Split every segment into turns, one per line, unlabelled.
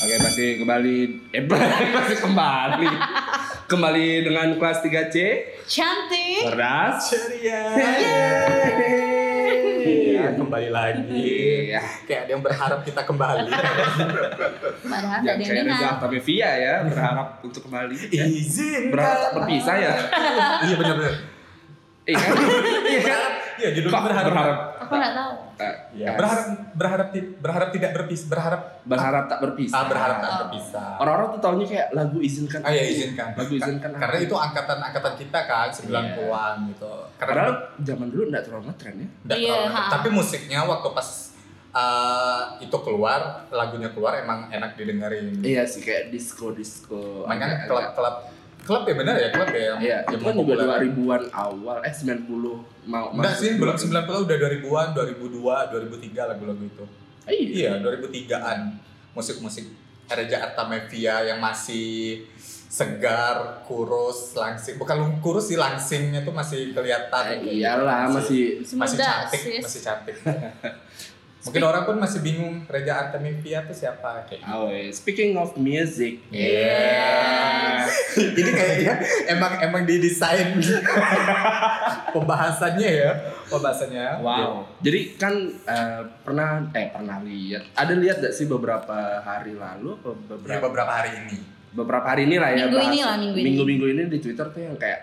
Oke, pasti kembali eh pasti kembali. kembali dengan kelas 3C.
Cantik.
Cerdas. Ya,
Iya, kembali lagi.
Iya.
Kayak ada yang berharap kita kembali.
Padahal
Yang
tadi
saya
yang
dengar
dengar.
tapi via ya berharap untuk kembali. Ya.
Iya. Izin.
Berharap tak berpisah ya.
Iya benar-benar.
Iya kan? Iya kan?
Iya, judul
Kok
berharap.
berharap?
Aku nggak tahu.
Eh,
Iya,
eh,
berharap berharap ti- berharap tidak berpisah, berharap
berharap tak berpisah.
ah, berharap tak
Oh.
berpisah.
Orang-orang tuh taunya kayak lagu izinkan.
Ah ya izinkan.
Lagu izinkan.
Karena itu angkatan-angkatan kita kan 90-an gitu. Karena
Padahal zaman dulu enggak terlalu ngetren ya.
Nggak
Iya,
terlalu enak.
ha.
Tapi musiknya waktu pas eh, itu keluar, lagunya keluar emang enak didengerin.
Iya sih kayak disco disco.
Makanya klub-klub klub ya benar ya klub ya yang
Iya,
yang
itu kan juga
populer.
2000-an awal, eh 90 mau
Enggak
masuk
sih, belum
2000.
90 udah 2000-an, 2002, 2003 lagu-lagu itu.
Iya.
Iya, 2003-an musik-musik Reja Arta Mevia yang masih segar, kurus, langsing. Bukan lu- kurus sih, langsingnya tuh masih
Eh,
kelihatan.
iyalah masih
Masih
masih
muda,
cantik,
sis.
masih cantik. Mungkin orang pun masih bingung Reja Arta Mevia tuh siapa kayak.
Oh, iya. speaking of music.
Iya.
Yeah. Jadi kayaknya emang emang didesain pembahasannya ya, pembahasannya.
Wow. Jadi kan eh, pernah eh pernah lihat ada lihat gak sih beberapa hari lalu atau
Ya,
beberapa
beberapa hari ini.
beberapa hari ini lah ya
Minggu ini
bahas-
lah, minggu ini.
minggu-minggu ini di Twitter tuh yang kayak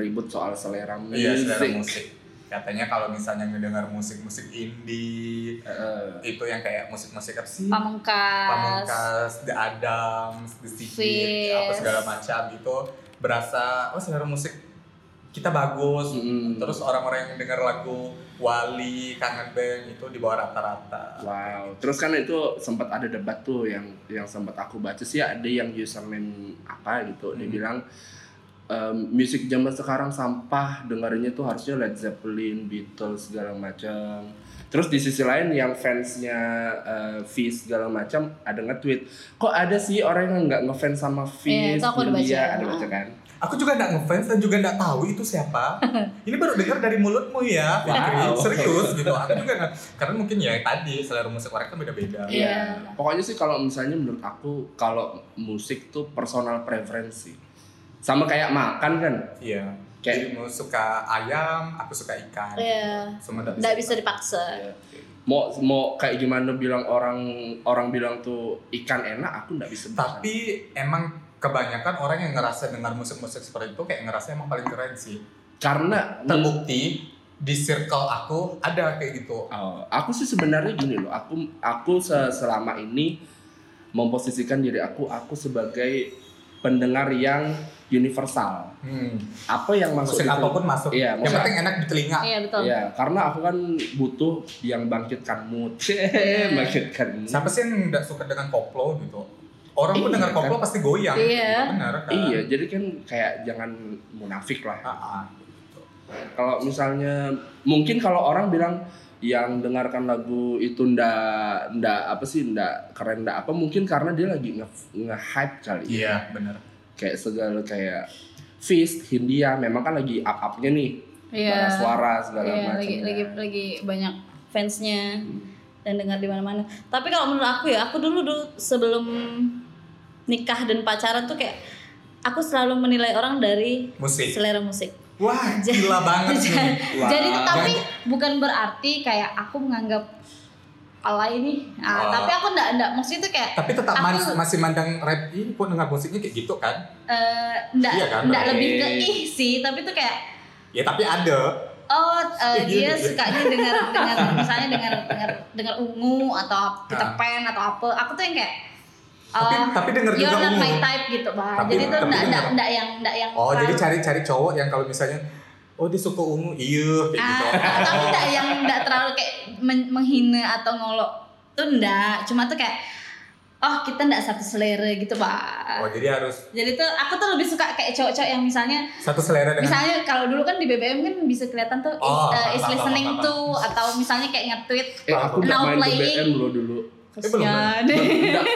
ribut soal selera
Iya,
musik.
selera musik. Katanya kalau misalnya ngedengar musik-musik indie
Eh,
itu yang kayak musik-musik apa sih?
Pamungkas.
Pamungkas, The Adams, The Sigit,
Fizz.
apa segala macam itu berasa oh selera musik kita bagus.
Mm.
Terus orang-orang yang dengar lagu Wali, Kangen Band itu di bawah rata-rata.
Wow, terus kan itu sempat ada debat tuh yang yang sempat aku baca sih ada yang username apa gitu, dia
Hmm.
bilang ehm, musik zaman sekarang sampah dengerinnya tuh harusnya Led Zeppelin, Beatles segala macam. Terus di sisi lain yang fansnya eh, Fizz segala macam ada nge-tweet, kok ada sih orang yang nggak ngefans sama
Iya,
Fizz,
itu aku udah baca.
Julia?" ada baca kan?
Aku juga nggak ngefans dan juga nggak tahu itu siapa. Ini baru dengar dari mulutmu ya, Fitri.
Wow.
serius gitu. Aku juga nggak. Karena mungkin ya tadi selera musik orang kan beda-beda.
Iya.
Pokoknya sih kalau misalnya menurut aku kalau musik tuh personal preferensi. Sama kayak makan kan.
Iya.
Kayak-
Jadi mau suka ayam, aku suka ikan.
Iya.
Semua nggak
Nggak bisa dipaksa.
mau mau kayak gimana bilang orang orang bilang tuh ikan enak aku nggak bisa makan.
Tapi emang kebanyakan orang yang ngerasa dengar musik-musik seperti itu kayak ngerasa emang paling keren sih.
Hmm.
karena
Terbukti di circle aku ada kayak gitu.
Oh, aku sih sebenarnya gini loh aku aku se- selama ini memposisikan diri aku aku sebagai pendengar yang universal
Hmm.
apa yang masuk di
Musik
telinga-
apapun masuk.
Iya,
yang
musik-
penting enak di telinga.
Iya betul.
Iya, karena aku kan butuh yang bangkitkan mood
Iya.
bangkitkan mood
Siapa sih yang nggak suka dengan koplo gitu? Orang pun
Iya,
dengar koplo
kan?
pasti goyang.
Iya.
Benar kan?
iya jadi kan kayak jangan munafik lah
Ah, ah.
kalau misalnya mungkin kalau orang bilang yang dengarkan lagu itu ndak ndak apa sih ndak keren ndak apa mungkin karena dia lagi nge, nge hype kali ya.
Iya, benar.
kayak segala kayak Fist, Hindia memang kan lagi up upnya nih
Iya.
para suara segala
Iya,
macam ya.
lagi lagi lagi banyak fansnya dan dengar di mana-mana. Tapi kalau menurut aku ya, aku dulu dulu sebelum nikah dan pacaran tuh kayak aku selalu menilai orang dari
Musik.
selera musik.
Wah,
Jadi-
gila banget nih.
Wah.
Jadi tapi bukan berarti kayak aku menganggap alay nih. Ah,
Wah.
tapi aku enggak enggak maksudnya tuh kayak
Tapi tetap
Aku-
man- masih mandang rap ini kok dengar musiknya kayak gitu kan?
eh, enggak
Iya kan,
enggak
oke.
lebih ke ih sih, tapi tuh kayak
Ya tapi ada.
oh eh,
Iya,
dia
iya.
sukanya dengar dengar misalnya dengar dengar dengar ungu atau Peter
Ah.
Pan atau apa. Aku tuh yang kayak
Tapi
eh,
tapi dengar
You're
juga
not
ungu.
my type gitu bah.
Tapi-
jadi tuh
tapi
enggak enggak
denger.
enggak yang enggak yang
Oh, jadi
terlalu-
cari-cari cowok yang kalau misalnya oh dia suka ungu, iya kayak gitu.
Ah, tapi enggak yang enggak terlalu kayak men- menghina atau ngolok tuh enggak. Cuma tuh kayak oh kita enggak satu selera gitu
Oh,
bah.
jadi harus
Jadi tuh aku tuh lebih suka kayak cowok-cowok yang misalnya
satu selera dengan
misalnya kalau dulu kan di BBM kan bisa kelihatan tuh is,
Oh,
eh, is
apa, apa,
listening
apa, apa.
to atau misalnya kayak nge-tweet Ya,
eh aku udah
Now
main
playing.
BBM loh dulu
Eh, belum,
Kasihan.
Nggak-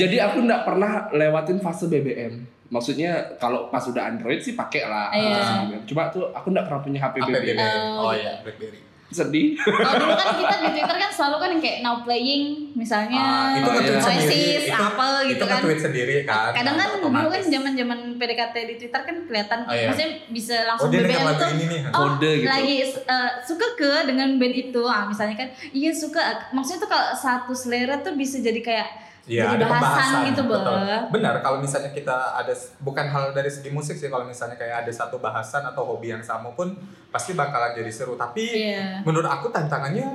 jadi aku nggak pernah lewatin fase BBM maksudnya kalau pas udah Android sih pakai lah
Iya.
aplikasi BBM. cuma tuh aku nggak pernah punya HP
apa
BBM
BBM.
Oh,
Oh
gitu.
iya, BlackBerry.
sedih
Kalau dulu kan kita di Twitter kan selalu kan yang kayak now playing misalnya
Ah, itu
nge-tweet
Oasis,
sendiri. Itu-
apa
itu
gitu
kan
kan.
tweet sendiri kan
Kadang kan dulu
otomatis.
kan zaman-zaman PDKT di Twitter kan kelihatan
Oh, iya.
maksudnya bisa
oh
langsung
dia dengar
BBM
lagu
tuh
ini nih
Oh, Kode gitu.
lagi eh, suka ke dengan band itu ah misalnya kan iya suka maksudnya tuh kalau satu selera tuh bisa jadi kayak
Iya,
jadi
ada
bahasan
pembahasan
gitu, Bel.
betul. Benar, kalau misalnya kita ada bukan hal dari segi musik sih, kalau misalnya kayak ada satu bahasan atau hobi yang sama pun pasti bakalan jadi seru. Tapi
iya
menurut aku tantangannya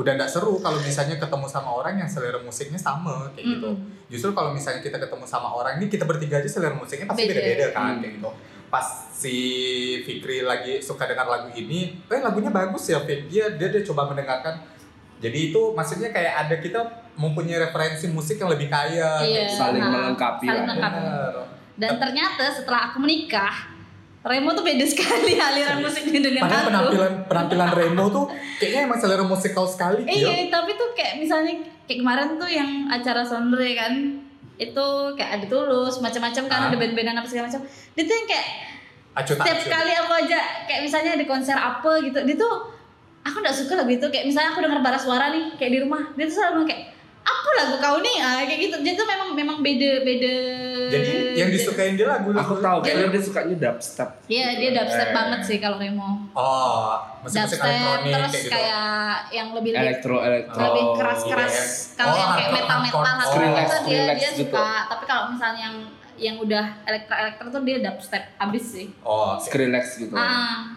udah nggak seru kalau misalnya ketemu sama orang yang selera musiknya sama kayak gitu.
Mm-mm.
Justru kalau misalnya kita ketemu sama orang ini kita bertiga aja selera musiknya pasti
Beda. Mm.
beda-beda kan
Hmm.
kayak gitu. Pas si Fikri lagi suka dengar lagu ini, eh lagunya bagus ya Fik. Dia dia, dia coba mendengarkan. Jadi itu maksudnya kayak ada kita mempunyai referensi musik yang lebih kaya. gitu.
Iya.
saling
Nah,
melengkapi
saling
lah
melengkapi.
Bener.
dan ternyata setelah aku menikah Remo tuh beda sekali aliran musik di dunia
Padahal
aku.
penampilan penampilan Remo tuh kayaknya emang selera musik kau sekali.
Eh,
Gil.
Iya, tapi tuh kayak misalnya kayak kemarin tuh yang acara Sondre kan itu kayak ada tulus macam-macam kan
Ah.
ada band-bandan apa segala macam. Dia tuh yang kayak
Acut
setiap
acut.
kali aku aja kayak misalnya ada konser apa gitu, dia tuh aku nggak suka lagu itu kayak misalnya aku denger bara suara nih kayak di rumah dia tuh selalu kayak apa lagu kau nih ah, kayak gitu jadi tuh memang memang beda beda
Jadi yang disukain dia gitu. lagu
aku tahu
Jadi-
kayaknya dia sukanya dubstep
iya dia dubstep banget sih kalau Remo
Oh,
dubstep
musik-musik Eh. elektronik
terus
kayak gitu.
kayak yang lebih
elektro elektro
lebih keras-keras
iya.
kalau
Oh,
yang kayak
hardcore,
metal-metal
hardcore.
hardcore itu
Skrillex,
dia dia
Skrillex gitu.
suka tapi kalau misalnya yang yang udah elektro elektro tuh dia dubstep abis sih
Oh, oke.
skrillex gitu
ah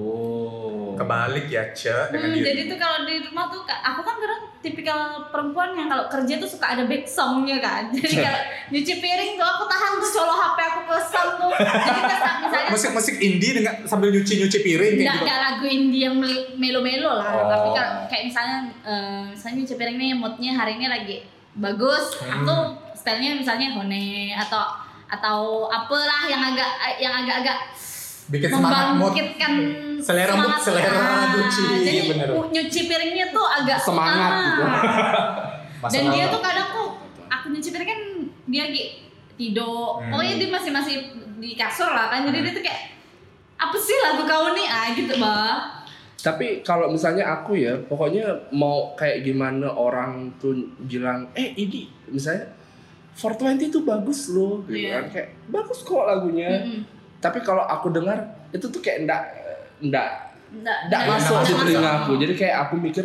oh
kebalik ya, Ce, dengan
hmm,
diri.
jadi tuh kalau di rumah tuh Kak, aku kan kadang tipikal perempuan yang kalau kerja tuh suka ada back songnya kan jadi kalau nyuci piring tuh aku tahan tuh solo hp aku ke sound tuh jadi kayak misalnya
musik-musik indie dengan sambil nyuci-nyuci piring kayak
Nggak,
gitu.
nggak lagu India yang mel- melo-melo lah
Oh.
tapi kalau kayak misalnya eh, misalnya Uci Piring nih moodnya hari ini lagi bagus
Hmm.
aku stylenya misalnya Hone atau atau apalah yang agak yang agak-agak
Bikin semangat mood.
membangkitkan
Selera mood,
semangat.
selera
Ah,
nyuci.
jadi
Iya, bener.
mu- nyuci piringnya tuh agak
Semangat
ah.
gitu.
Masa
dan dia
lalu.
tuh kadang tuh aku nyuci piring kan dia lagi tidur
Hmm.
pokoknya dia masih masih di kasur lah kan jadi dia tuh kayak apa sih lagu kau nih ah gitu bah
Tapi kalau misalnya aku ya, pokoknya mau kayak gimana orang tuh bilang, eh ini misalnya 420 tuh bagus loh, gitu
Iya. Hmm.
kan kayak bagus kok
Eh,
lagunya.
Mm-mm.
Tapi kalau aku dengar itu tuh kayak ndak ndak
Nggak,
ndak
nggak
masuk
nggak
di
masuk.
telinga aku. Jadi kayak aku mikir,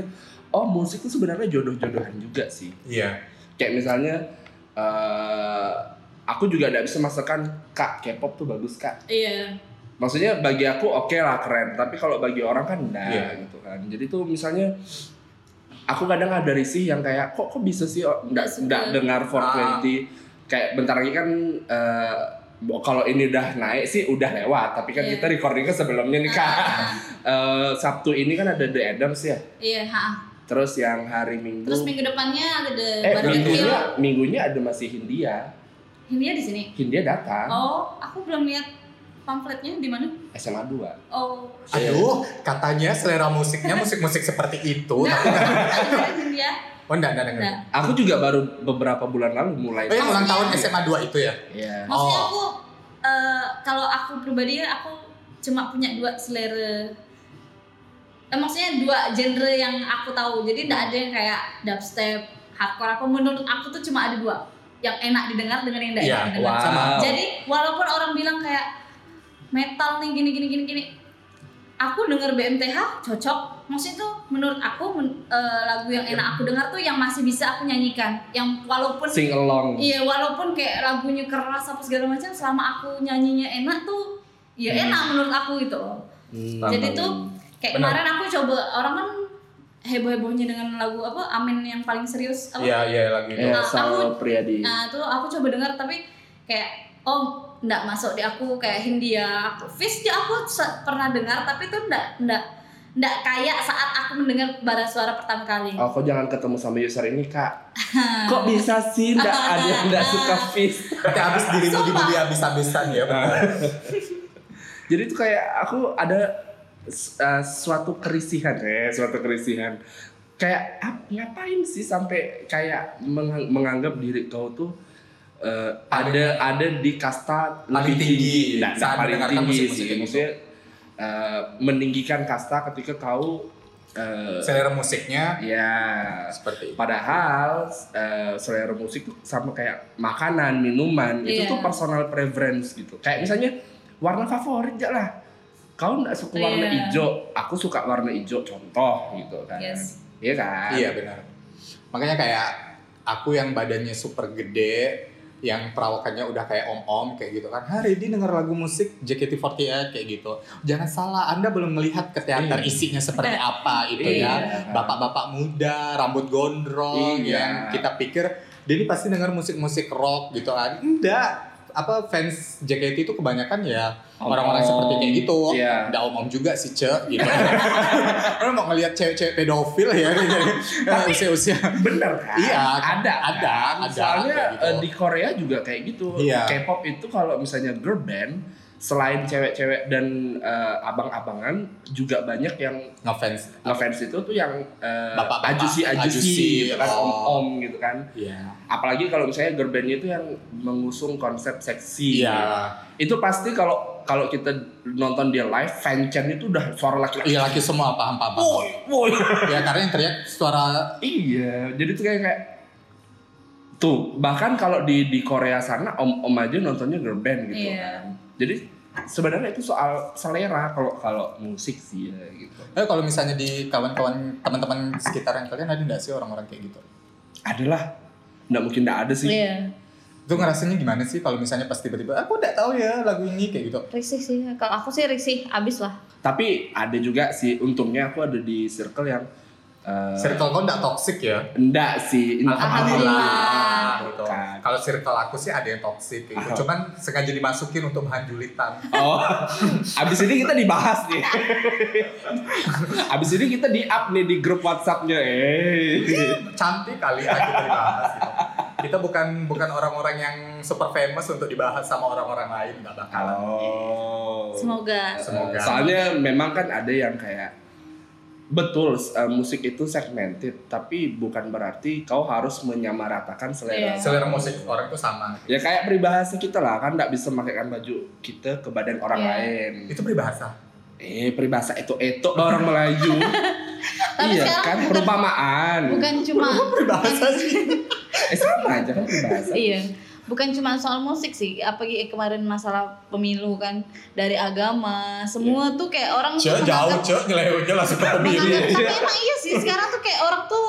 oh musik tuh sebenarnya jodoh-jodohan juga sih.
Iya.
Kayak misalnya eh aku juga ndak bisa masukkan kak K-pop tuh bagus kak.
Iya.
maksudnya bagi aku oke lah keren tapi kalau bagi orang kan enggak
Iya.
gitu kan jadi tuh misalnya aku kadang ada risih yang kayak kok kok bisa sih oh, enggak
Nggak suka.
enggak dengar 420
Ah.
kayak bentar lagi kan eh, bo- kalau ini udah naik sih udah lewat tapi kan
Iya.
kita recordingnya sebelumnya nih
Ah,
kak
ah, ah.
Eh, Sabtu ini kan ada The Adams ya
Iya, ha.
terus yang hari Minggu
Terus minggu depannya ada
eh
Barca Kiel.
minggunya minggunya ada masih Hindia
Hindia ya di sini.
Hindia datang
Oh, aku belum lihat pamfletnya di mana.
SMA 2
Oh.
Aduh, katanya selera musiknya musik-musik seperti itu.
Nah,
Tapi,
ada Hindia.
oh, enggak, enggak, enggak.
Nah,
aku juga baru beberapa bulan lalu mulai
Oh, yang ulang tahun
Maksudnya-
SMA 2 itu ya?
Iya.
maksudnya
Oh.
aku eh, kalau aku pribadi aku cuma punya dua selera. Eh, maksudnya dua genre yang aku tahu. Jadi tidak ada yang kayak dubstep, hardcore. Aku menurut aku tuh cuma ada dua yang enak didengar dengan yang tidak
Iya,
enak didengar.
Wow.
Sama.
Jadi walaupun orang bilang kayak metal nih gini gini gini gini, aku denger BMTH cocok. Maksudnya tuh menurut aku men- eh, lagu yang enak aku dengar tuh yang masih bisa aku nyanyikan, yang walaupun
sing along.
iya walaupun kayak lagunya keras apa segala macam, selama aku nyanyinya enak tuh ya
Hmm.
enak menurut aku gitu loh.
Hmm.
Jadi tuh kayak
Benar.
kemarin aku coba orang kan heboh-hebohnya dengan lagu apa Amin yang paling serius apa
Iya, iya, lagi itu.
Eh,
Nah,
Sal Priadi.
Nah, tuh aku coba dengar tapi kayak oh ndak masuk di aku kayak Hindia. Aku Fish ya aku se- pernah dengar tapi tuh ndak ndak ndak kayak saat aku mendengar bara suara pertama kali.
Oh, kok jangan ketemu sama user ini, Kak. Kok bisa sih ndak ada yang ndak suka
Nah.
fish?
Berarti abis dirimu
Sumpah.
dibully abis-abisan ya, benar.
Jadi itu kayak aku ada s- uh, suatu kerisihan, eh, suatu kerisihan. Kayak ap- ngapain sih sampai kayak meng- menganggap diri kau tuh eh, ada ada di kasta
Paling
lebih
tinggi
Nggak, nggak
saat
paling
mendengarkan gitu.
tinggi
musik-musik
sih.
itu.
Maksudnya eh, meninggikan kasta ketika kau eh,
selera musiknya
ya
seperti itu.
Padahal eh, selera musik tuh sama kayak makanan, minuman itu
Iya.
tuh personal preference gitu. Kayak misalnya warna favorit aja lah. Kau nggak suka warna
Iya.
hijau, aku suka warna hijau contoh gitu kan.
Yes.
Iya kan?
Iya benar. Makanya kayak aku yang badannya super gede, yang perawakannya udah kayak om-om kayak gitu kan. Hari ini denger lagu musik JKT48 kayak gitu. Jangan salah, Anda belum melihat ke teater
Iya.
isinya seperti
Iya.
apa itu
Iya.
ya. Bapak-bapak muda, rambut gondrong
Iya.
yang kita pikir dia ini pasti denger musik-musik rock gitu kan. Enggak. Apa fans JKT itu kebanyakan ya orang-orang
Om-om.
seperti kayak gitu.
Iya.
Nggak om-om juga sih, Ce, gitu. Orang mau ngelihat cewek-cewek pedofil ya
Tapi-
usia-usia.
Bener kan?
Iya,
ada,
ada,
kan?
ada,
Soalnya
kayak gitu.
eh, di Korea juga kayak gitu.
Iya.
K-pop itu kalau misalnya girl band, selain cewek-cewek dan eh, abang-abangan, juga banyak yang
Ngefans.
ngefans itu tuh yang eh,
Bapak-bapak,
ajusi
ajusi,
ajusi gitu kan
oh.
om om gitu kan
Iya.
apalagi kalau misalnya girl bandnya itu yang mengusung konsep seksi
Iya.
itu pasti kalau kalau kita nonton dia live fanchan itu udah suara laki-laki
Iya laki semua paham paham. paham.
woi woi
Ya karena yang teriak suara
iya jadi tuh kayak kayak tuh bahkan kalau di di Korea sana om om aja nontonnya girl band gitu
Iya.
kan jadi sebenarnya itu soal selera kalau kalau musik sih ya gitu
Eh kalau misalnya di kawan-kawan teman-teman sekitaran kalian ada nggak sih orang-orang kayak gitu?
adalah nggak mungkin nggak ada sih
Iya,
Itu ngerasanya gimana sih kalau misalnya pas tiba-tiba aku nggak tahu ya lagu ini kayak gitu.
risih sih. Kalau aku sih risih abis lah.
tapi ada juga sih untungnya aku ada di circle yang eh,
Circle kau nggak toxic ya?
enggak sih
Alhamdulillah.
Gitu.
Bukan.
Kalau circle aku sih ada yang toxic gitu.
Ah.
Cuman sengaja dimasukin untuk hanjulitan.
oh abis ini kita dibahas nih abis ini kita di up nih di grup WhatsAppnya eh
Iya, cantik kali ya kita dibahas gitu. Kita bukan bukan orang-orang yang super famous untuk dibahas sama orang-orang lain nggak bakalan. Oh.
kalau
Semoga.
Semoga.
soalnya memang kan ada yang kayak betul eh, musik itu segmented tapi bukan berarti kau harus menyamaratakan selera
Iya.
Selera musik orang tuh sama.
ya kayak peribahasa kita lah kan nggak bisa memakaikan baju kita ke badan orang
Iya.
lain
Itu peribahasa.
Eh, peribahasa itu itu orang Melayu.
Tapi
iya
sekarang
kan
bukan-
perumpamaan.
Bukan cuma
Peribahasa sih.
Eh sama aja kan peribahasa.
iya bukan cuma soal musik sih apalagi ya kemarin masalah pemilu kan dari agama semua tuh kayak orang tuh
Cek jauh
menganggap-
cek nyelewnya langsung ke
menganggap-
pemilih.
tapi emang iya sih sekarang tuh kayak orang tuh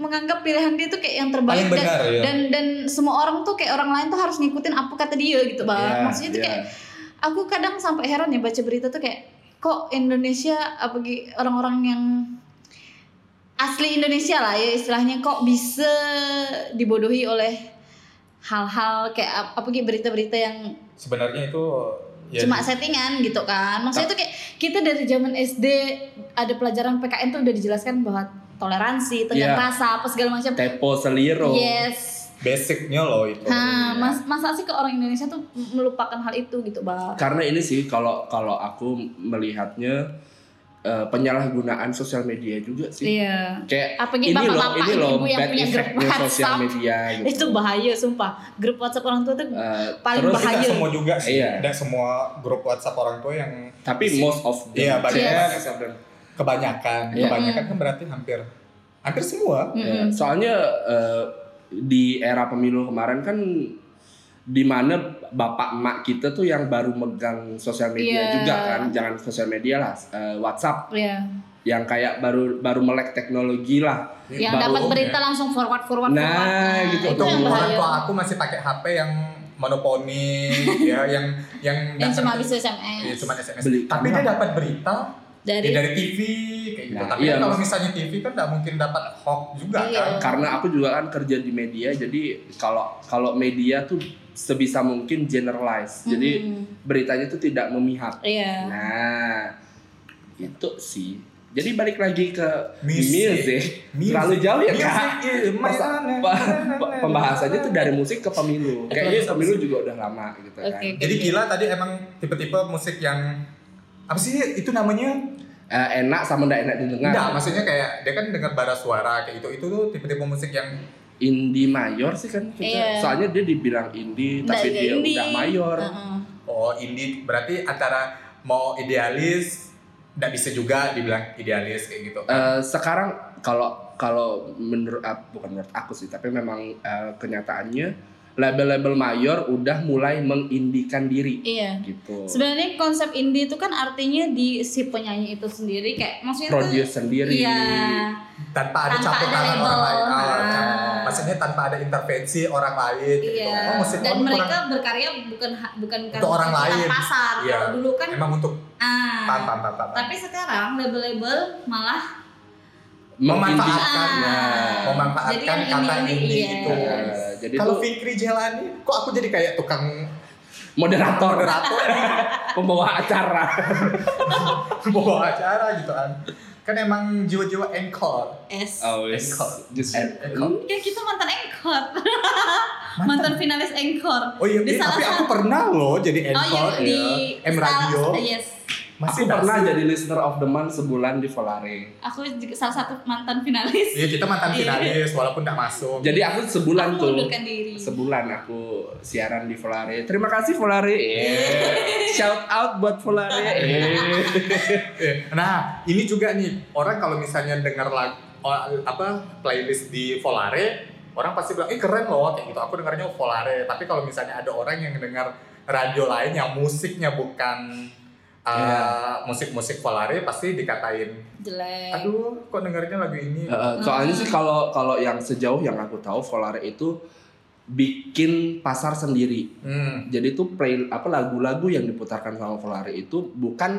menganggap pilihan dia tuh kayak yang terbaik
Paling benar
dan,
ya.
dan dan semua orang tuh kayak orang lain tuh harus ngikutin apa kata dia gitu bang
Iya,
maksudnya tuh
iya.
kayak aku kadang sampai heran ya baca berita tuh kayak kok Indonesia apalagi orang-orang yang asli Indonesia lah ya istilahnya kok bisa dibodohi oleh hal-hal kayak ap- apa gitu berita-berita yang
Sebenarnya itu ya
cuma settingan gitu kan maksudnya itu kayak kita dari zaman SD ada pelajaran PKN tuh udah dijelaskan bahwa toleransi
Ya.
tentang
Iya.
rasa apa segala macam
Tepo seliro.
yes
basicnya loh itu. Iya.
nah mas masa sih ke orang Indonesia tuh melupakan hal itu gitu bang
Karena ini sih kalau kalau aku melihatnya eh, penyalahgunaan sosial media juga sih.
iya
Kayak
apa
ini
gitu
loh,
bapak-bapak
ini loh
ibu yang
bad
punya grup
effect-nya sosial
WhatsApp
media gitu.
itu bahaya sumpah grup WhatsApp orang tua tuh
Eh,
paling
terus-
bahaya
Tidak semua juga sih.
Iya.
Tidak semua grup WhatsApp orang tua yang
tapi most of them
Iya, banyak
cewek,
banyak.
most of them.
kebanyakan,
Iya.
Mm.
kebanyakan kan berarti hampir hampir semua.
Ya,
Mm-mm.
soalnya eh, di era pemilu kemarin kan di mana bapak emak kita tuh yang baru megang sosial media
Iya.
juga kan jangan sosial media lah eh, WhatsApp
Iya.
yang kayak baru baru melek teknologi lah Baru-
yang
ya.
dapat berita langsung forward forward
Nah,
forward
gitu.
itu
Untuk
yang
orang
bahaya
tua aku masih pakai HP yang monoponi ya yang yang
yang
nggak
cuma
ngerti.
bisa
Iya,
SMS
cuma SMS.
Beli
Tapi
kamera.
dia dapat berita ya,
dari
dari TV kayak gitu.
Nah,
Tapi
iya,
kan kalau
mas-
misalnya TV kan nggak mungkin dapat hoax juga
Iya.
kan.
karena aku juga kan kerja di media jadi kalau kalau media tuh sebisa mungkin generalize jadi
Mm-mm.
beritanya tuh tidak memihak
iya
nah itu sih jadi balik lagi ke
Music.
music.
Music.
terlalu jauh ya kak
Music is my
Masa-
honor.
Pe- pe- pembahasannya tuh dari musik ke pemilu. Kayaknya pemilu juga udah lama gitu kan.
Oke.
Jadi gila tadi emang tipe-tipe musik yang apa sih itu namanya?
Eh, enak sama ndak enak
Nah.
didengar.
Enggak, maksudnya kayak dia kan dengar bara suara kayak gitu. Itu tuh tipe-tipe musik yang
indie mayor sih kan kita.
Iya.
Soalnya dia dibilang indie
Nggak
tapi
juga
dia
indie.
udah mayor.
Heeh.
Oh, indie berarti antara mau idealis nggak bisa juga dibilang idealis kayak gitu.
Eh, sekarang kalau kalau menurut ap- bukan menurut aku sih tapi memang eh, kenyataannya label-label mayor udah mulai mengindikan diri
Iya.
gitu
Sebenarnya konsep indie itu kan artinya di si penyanyi itu sendiri kayak maksudnya tuh-
produce sendiri
Iya.
tanpa ada
Tanpa
campur
ada
tangan
label.
orang lain. Ah,
Ah.
campur. Maksudnya tanpa ada intervensi orang lain kayak
Iya.
gitu. Oh, musik
Dan
kamu
mereka
kurang-
berkarya bukan ha- bukan
Untuk orang
tuntutan
lain.
pasar.
Iya.
Kalau dulu kan
emang untuk
ah.
tanpa tanpa
Tapi sekarang label-label malah
mengindi-
Memanfaatkan. ya.
Nah.
Jadi kan
memanfaatkan kata
ini-
ini gitu.
iya.
itu.
Eh, jadi
Kalau
tuh
Fikri Jalani, kok aku jadi kayak tukang
moderator
moderator
pembawa acara
bawa acara gitu kan? Kan emang jiwa-jiwa encore.
S.
yes.
Anchor.
Just-
Encore.
Ya kita mantan engkot. mantan finalis engkor.
Oh iya,
Di
iya,
salah
tapi aku
satu-
pernah loh jadi
Oh iya
encore
di
ya. M Radio.
salah- ah, Yes.
Aku
Masih
pernah
nasi.
jadi listener of the month sebulan di Volare.
Aku juga salah satu mantan finalis.
Iya kita mantan
Iya.
finalis walaupun nggak masuk.
Jadi aku sebulan
Aku
tuh.
mengundurkan diri.
Sebulan aku siaran di Volare. Terima kasih Volare. Eh, Shout out buat Volare. Eh.
Eh, Nah, ini juga nih orang kalau misalnya dengar lagu o- apa playlist di Volare, orang pasti bilang, "Eh keren loh." kayak gitu. Aku dengarnya Volare, tapi kalau misalnya ada orang yang dengar radio lain yang musiknya bukan uh,
Iya.
musik-musik Volare pasti dikatain,
Jelek.
"Aduh, kok dengarnya lagu ini?"
Eh, soalnya sih kalau kalau yang sejauh yang aku tahu Volare itu bikin pasar sendiri.
Hmm.
Jadi tuh play apa lagu-lagu yang diputarkan sama Volare itu bukan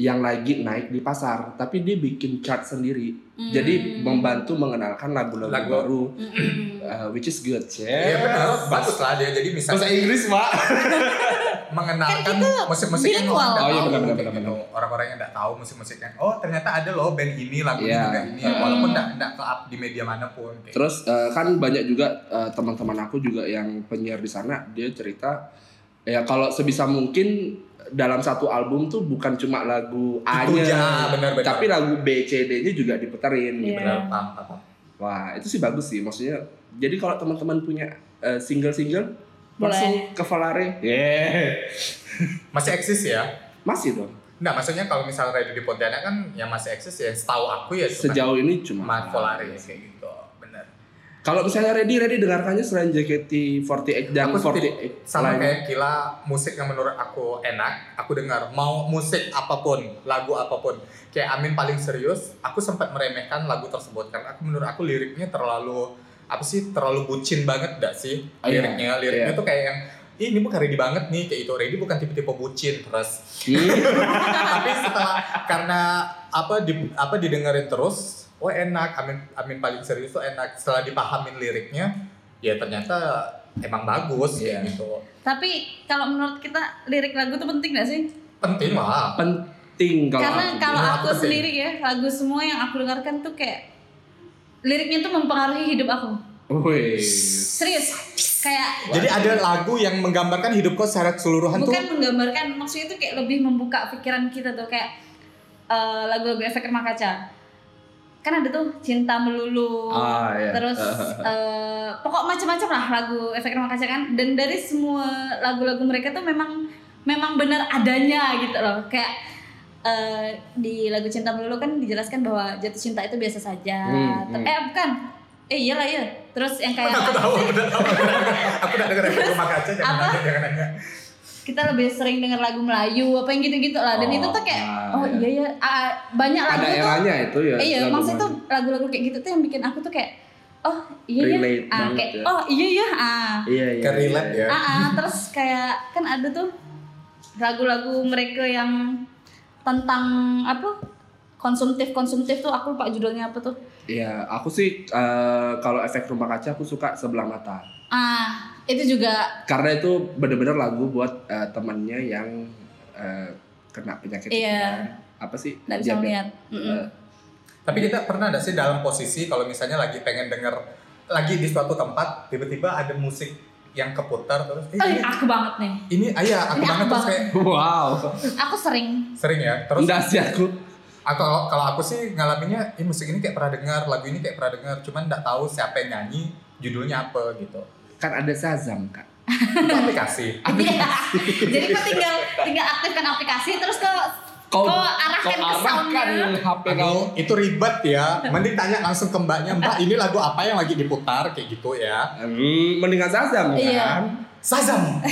yang lagi naik di pasar, tapi dia bikin chart sendiri.
Hmm.
Jadi membantu mengenalkan lagu-lagu
Lagu.
baru,
Mm-mm.
eh, which is good, ya.
Iya benar, bagus lah dia. Jadi misalnya
Inggris, Pak.
mengenalkan
Kan kita
musik-musik yang
bilingual.
orang nggak
Oh, iya,
tahu,
benar, benar,
kayak
benar,
gitu. orang-orang yang nggak tahu musik-musik yang oh ternyata ada loh band ini lagunya
Iya.
juga ini
Hmm.
walaupun nggak nggak ke up di media manapun kayak gitu.
Terus eh, kan banyak juga eh, teman-teman aku juga yang penyiar di sana, dia cerita ya kalau sebisa mungkin dalam satu album tuh bukan cuma lagu
Itu
A-nya,
ya, benar, benar.
tapi lagu B, C, D-nya juga diputerin.
Iya.
gitu.
benar paham paham
Wah itu sih bagus sih, maksudnya. Jadi kalau teman-teman punya eh, single-single,
Boleh.
langsung ke Valare, yeah.
masih eksis ya
masih dong.
Nah, maksudnya kalau misalnya radio di Pontianak kan yang masih eksis ya, setahu aku ya cuma
Sejauh ini cuma
Mat Polari kayak gitu. Bener.
Kalau misalnya ready ready dengarkannya selain JKT48 dan
aku seperti
48
sama
lainnya.
kayak Kila musik yang menurut aku enak aku dengar mau musik apapun lagu apapun kayak Amin paling serius aku sempat meremehkan lagu tersebut karena aku menurut aku liriknya terlalu apa sih terlalu bucin banget gak sih
Oh, iya.
liriknya liriknya
Iya.
tuh kayak yang "Ih, ini bukan ready banget nih kayak itu ready bukan tipe-tipe bucin terus
Hmm.
tapi setelah karena apa di apa didengerin terus oh enak amin amin paling serius tuh enak setelah dipahamin liriknya ya ternyata emang bagus
Iya.
kayak gitu
Tapi kalau menurut kita lirik lagu itu penting gak sih?
penting lah
penting kalau
Karena
aku
kalau
bilang
aku
apa sih?
sendiri ya, lagu semua yang aku dengarkan tuh kayak liriknya tuh mempengaruhi hidup aku.
bilang. Wih.
Serius. Kayak
jadi ada lagu yang menggambarkan hidup kau secara keseluruhan
bukan
Kan tuh
menggambarkan, maksudnya tuh kayak lebih membuka pikiran kita tuh kayak eh, lagu-lagu efek rumah kaca. Kan ada tuh cinta melulu.
Ah, iya.
Oh, Terus eh, pokok macam-macam lah lagu efek rumah kaca kan dan dari semua lagu-lagu mereka tuh memang memang benar adanya gitu loh kayak eh, di lagu cinta melulu kan dijelaskan bahwa jatuh cinta itu biasa saja
Hmm,
Ter-
hmm.
eh bukan eh iyalah iya terus yang kayak
aku tahu aku udah tahu aku udah denger. aku udah dengerin rumah kaca jangan
Apa?
nanya jangan nanya
kita lebih sering dengar lagu Melayu apa yang gitu-gitu lah dan
Oh,
itu tuh kayak
ah,
oh
iya.
iya ya ah, banyak lagu
ada
tuh
eranya itu ya.
iya
lagu
maksudnya tuh
mana.
lagu-lagu kayak gitu tuh yang bikin aku tuh kayak oh iya ya
Relate
ah,
banget
kayak
ya.
oh iya ya ah
Iya iya.
Ke relate
iya.
ya
Ah, ah, terus kayak kan ada tuh lagu-lagu mereka yang tentang apa konsumtif konsumtif tuh aku lupa judulnya apa tuh
Iya, aku sih eh, kalau efek rumah kaca aku suka sebelah mata.
ah itu juga
Karena itu bener-bener lagu buat eh, temannya yang eh, kena penyakit itu
Iya.
kan. Apa sih?
nggak bisa
Diabetes.
melihat Mm-mm.
Eh,
tapi kita pernah nggak sih dalam posisi kalau misalnya lagi pengen denger lagi di suatu tempat tiba-tiba ada musik yang keputar terus
iya,
eh,
Eh,
ini-
aku banget nih
ini ayah aku
Ini
banget
aku
terus
banget.
kayak
Wow.
aku sering
sering ya terus
Enggak sih aku.
aku kalau- kalau aku sih ngalaminnya ini musik ini kayak pernah dengar lagu ini kayak pernah dengar cuman nggak tahu siapa yang nyanyi judulnya apa gitu
Kan ada Shazam, Kak.
itu aplikasi
Iya. jadi aku tinggal tinggal aktifkan aplikasi terus ke Kau arahkan ke
arahkan
soundnya.
HP kau.
Aduh, itu ribet ya. Mending tanya langsung ke mbaknya, mbak ini lagu apa yang lagi diputar kayak gitu ya.
Hmm, mendingan Zazam kan?
Iya.
Sazam.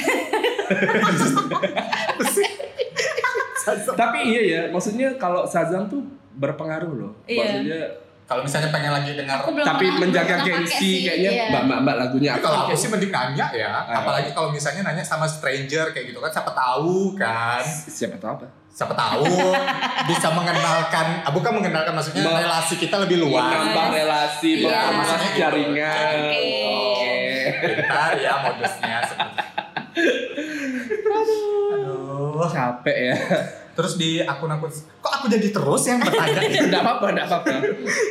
Sazam.
Tapi iya ya, maksudnya kalau Sazam tuh berpengaruh loh.
Iya.
Maksudnya
Kalau misalnya pengen lagi dengar
Aku belum
tapi
pernah-
menjaga
belum pernah pakai
gengsi
sih,
kayaknya
iya.
mbak-mbak lagunya
Tapi
apa?
kalau aku sih mending nanya ya, apalagi kalau misalnya nanya sama stranger kayak gitu kan siapa tahu kan.
Siapa tahu apa?
Siapa tahu bisa mengenalkan, ah, bukan mengenalkan maksudnya
Mbak.
relasi kita lebih luas.
Menambah relasi,
Iya.
menambah
Maksudnya gitu.
jaringan.
Oke.
Bentar ya modusnya seperti Aduh.
Wah, capek ya.
Terus di akun-akun kok aku jadi terus yang bertanya gitu?
Enggak apa-apa, enggak apa-apa.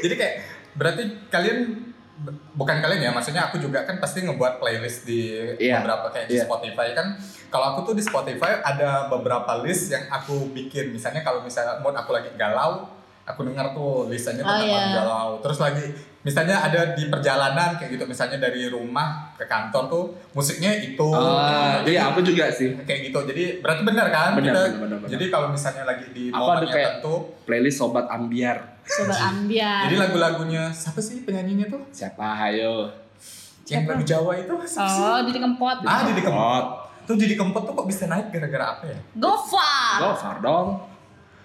Jadi kayak berarti kalian bukan kalian ya, maksudnya aku juga kan pasti ngebuat playlist di
Iya.
beberapa kayak di
Iya.
Spotify kan. Kalau aku tuh di Spotify ada beberapa list yang aku bikin. Misalnya kalau misalnya mood aku lagi galau, aku dengar tuh listannya
Oh,
tentang
iya.
lagu galau. Terus lagi misalnya ada di perjalanan kayak gitu, misalnya dari rumah ke kantor tuh musiknya itu.
Ah,
Jadi
iya, aku juga sih.
kayak gitu. Jadi berarti benar kan?
Benar,
Kita-
benar, benar, benar.
Jadi kalau misalnya lagi di
Aku
momen
ada
yang
kayak-
tertentu,
Playlist Sobat Ambiar.
Sobat ambiar.
jadi lagu-lagunya siapa sih penyanyinya tuh?
Siapa? Hayo.
Yang lagu Jawa itu siapa sih?
Oh, Didi Kempot.
Ah, Didi Kempot. Tuh Didi Kempot tuh kok bisa naik gara-gara apa ya?
Gofar.
Go far dong.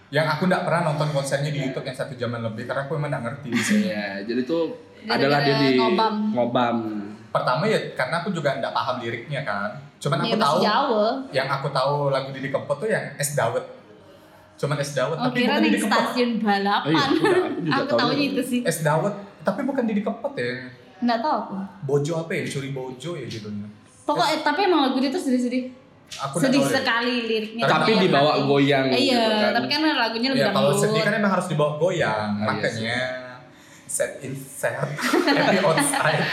Yang aku nggak pernah nonton konsernya di YouTube yang satu jaman lebih karena aku emang nggak ngerti.
Iya, jadi tuh
Gara-gara
adalah dia di
ngobam.
ngobam.
Pertama ya karena aku juga nggak paham liriknya kan. Cuman aku
Iya,
tahu
masih Jawa.
yang aku tahu lagu Didi Kempot tuh yang Es Dawet. Cuman Es Dawet
Oh,
tapi
kira
bukan
naik
Didi Kempot.
stasiun
Oh iya,
balapan.
aku juga- aku juga
aku
tahu.
tahunya itu sih.
Es Dawet tapi bukan Didi Kempot ya.
Enggak tahu aku.
Bojo apa ya? Curi Bojo ya judulnya.
Pokoknya tapi emang lagu dia tuh sedih-sedih.
Aku nggak
Sedih
tahu ya.
sekali liriknya.
Tapi dibawa
tapi-
goyang
Iya,
gitu kan.
tapi kan lagunya lebih
Ya kalau sedih kan
dangdut.
emang harus dibawa goyang,
Ah, iya
makanya set insert happy outside.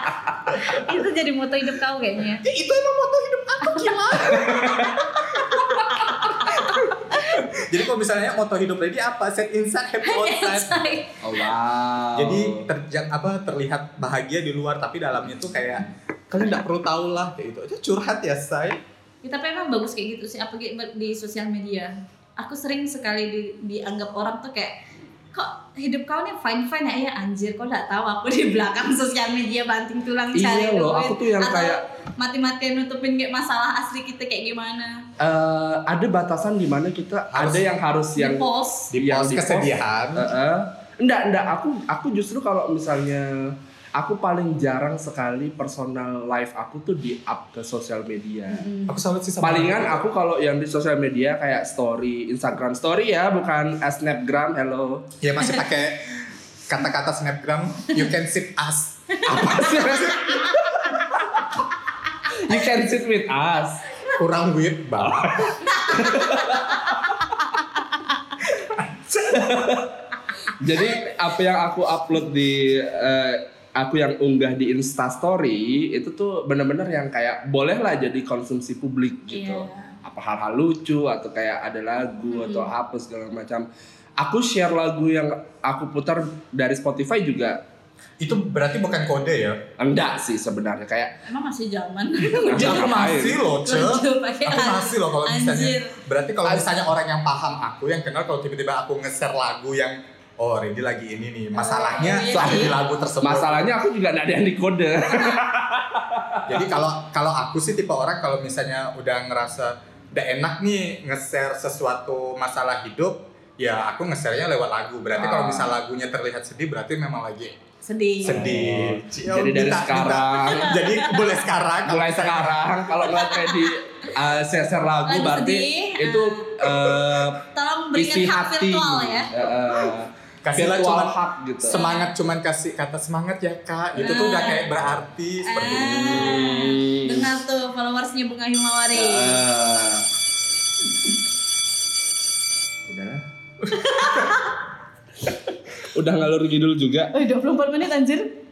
Itu jadi moto hidup kau kayaknya. Iya,
Ya, itu emang moto hidup aku gila. Jadi kalau misalnya moto hidup lagi apa? Set inside happy outside.
Oh, wow.
Jadi terjang apa terlihat bahagia di luar tapi dalamnya tuh kayak kalian nggak perlu tahu lah kayak gitu. Itu curhat ya say.
Ya, tapi emang bagus kayak gitu sih apa kayak di sosial media. Aku sering sekali di- dianggap orang tuh kayak kok hidup kau nih fine fine ya, ya anjir kok nggak tahu aku di belakang sosial media banting tulang cari
Iya loh,
duit.
aku tuh yang
Atau
kayak
mati-matian nutupin kayak masalah asli kita kayak gimana
eh, ada batasan di mana kita
Harus-
ada yang harus yang eh,
di post
yang
Iya, Di post Eh.
di-post.
kesedihan.
Heeh. enggak, enggak. Aku aku justru kalau misalnya aku paling jarang sekali personal life aku tuh di up ke sosial media.
Aku salut sih sama
Palingan aku kalau yang di sosial media kayak story, Instagram story ya, bukan eh, snapgram. Hello.
ya masih pakai kata-kata snapgram you can sip us
Apa sih? You can sit with us.
kurang weird banget
Jadi apa yang aku upload di eh, aku yang unggah di Insta Story itu tuh bener-bener yang kayak bolehlah jadi konsumsi publik gitu.
Iya.
Apa hal-hal lucu atau kayak ada lagu atau apa segala macam. Aku share lagu yang aku putar dari Spotify juga
itu berarti bukan kode ya
enggak sih sebenarnya kayak
emang masih zaman
aku masih loh ce
Lucu, pakai
aku masih loh kalau
anjir.
misalnya berarti kalau misalnya orang yang paham aku yang kenal kalau tiba-tiba aku nge-share lagu yang oh Randy lagi ini nih masalahnya
Oh, iya
ada di
sih.
lagu tersebut
masalahnya aku juga enggak ada yang dikode.
jadi kalau kalau aku sih tipe orang kalau misalnya udah ngerasa udah enak nih nge-share sesuatu masalah hidup ya aku nge-share-nya lewat lagu berarti
Ah.
kalau misal lagunya terlihat sedih berarti memang lagi
sedih
sedih.
Jadi dari
Ya, Minta-
sekarang.
minta. jadi boleh sekarang. kalau
mulai
misalnya-
sekarang kalau ngeliat Freddy uh, share-share lagu
Lagu
berarti
sedih.
itu uh,
tolong berikan
isi
hak
hati
virtual ya
Uh,
Kasihlah
virtual
cuman-
hak gitu Nah.
Semangat cuman kasih kata semangat ya kak. Itu tuh udah kayak berarti seperti
Eh.
ini.
Ah, dengar Eh, tuh followersnya bunga himawari
Uh, udah udah ngalur ngidul juga
Eh, 24 menit anjir.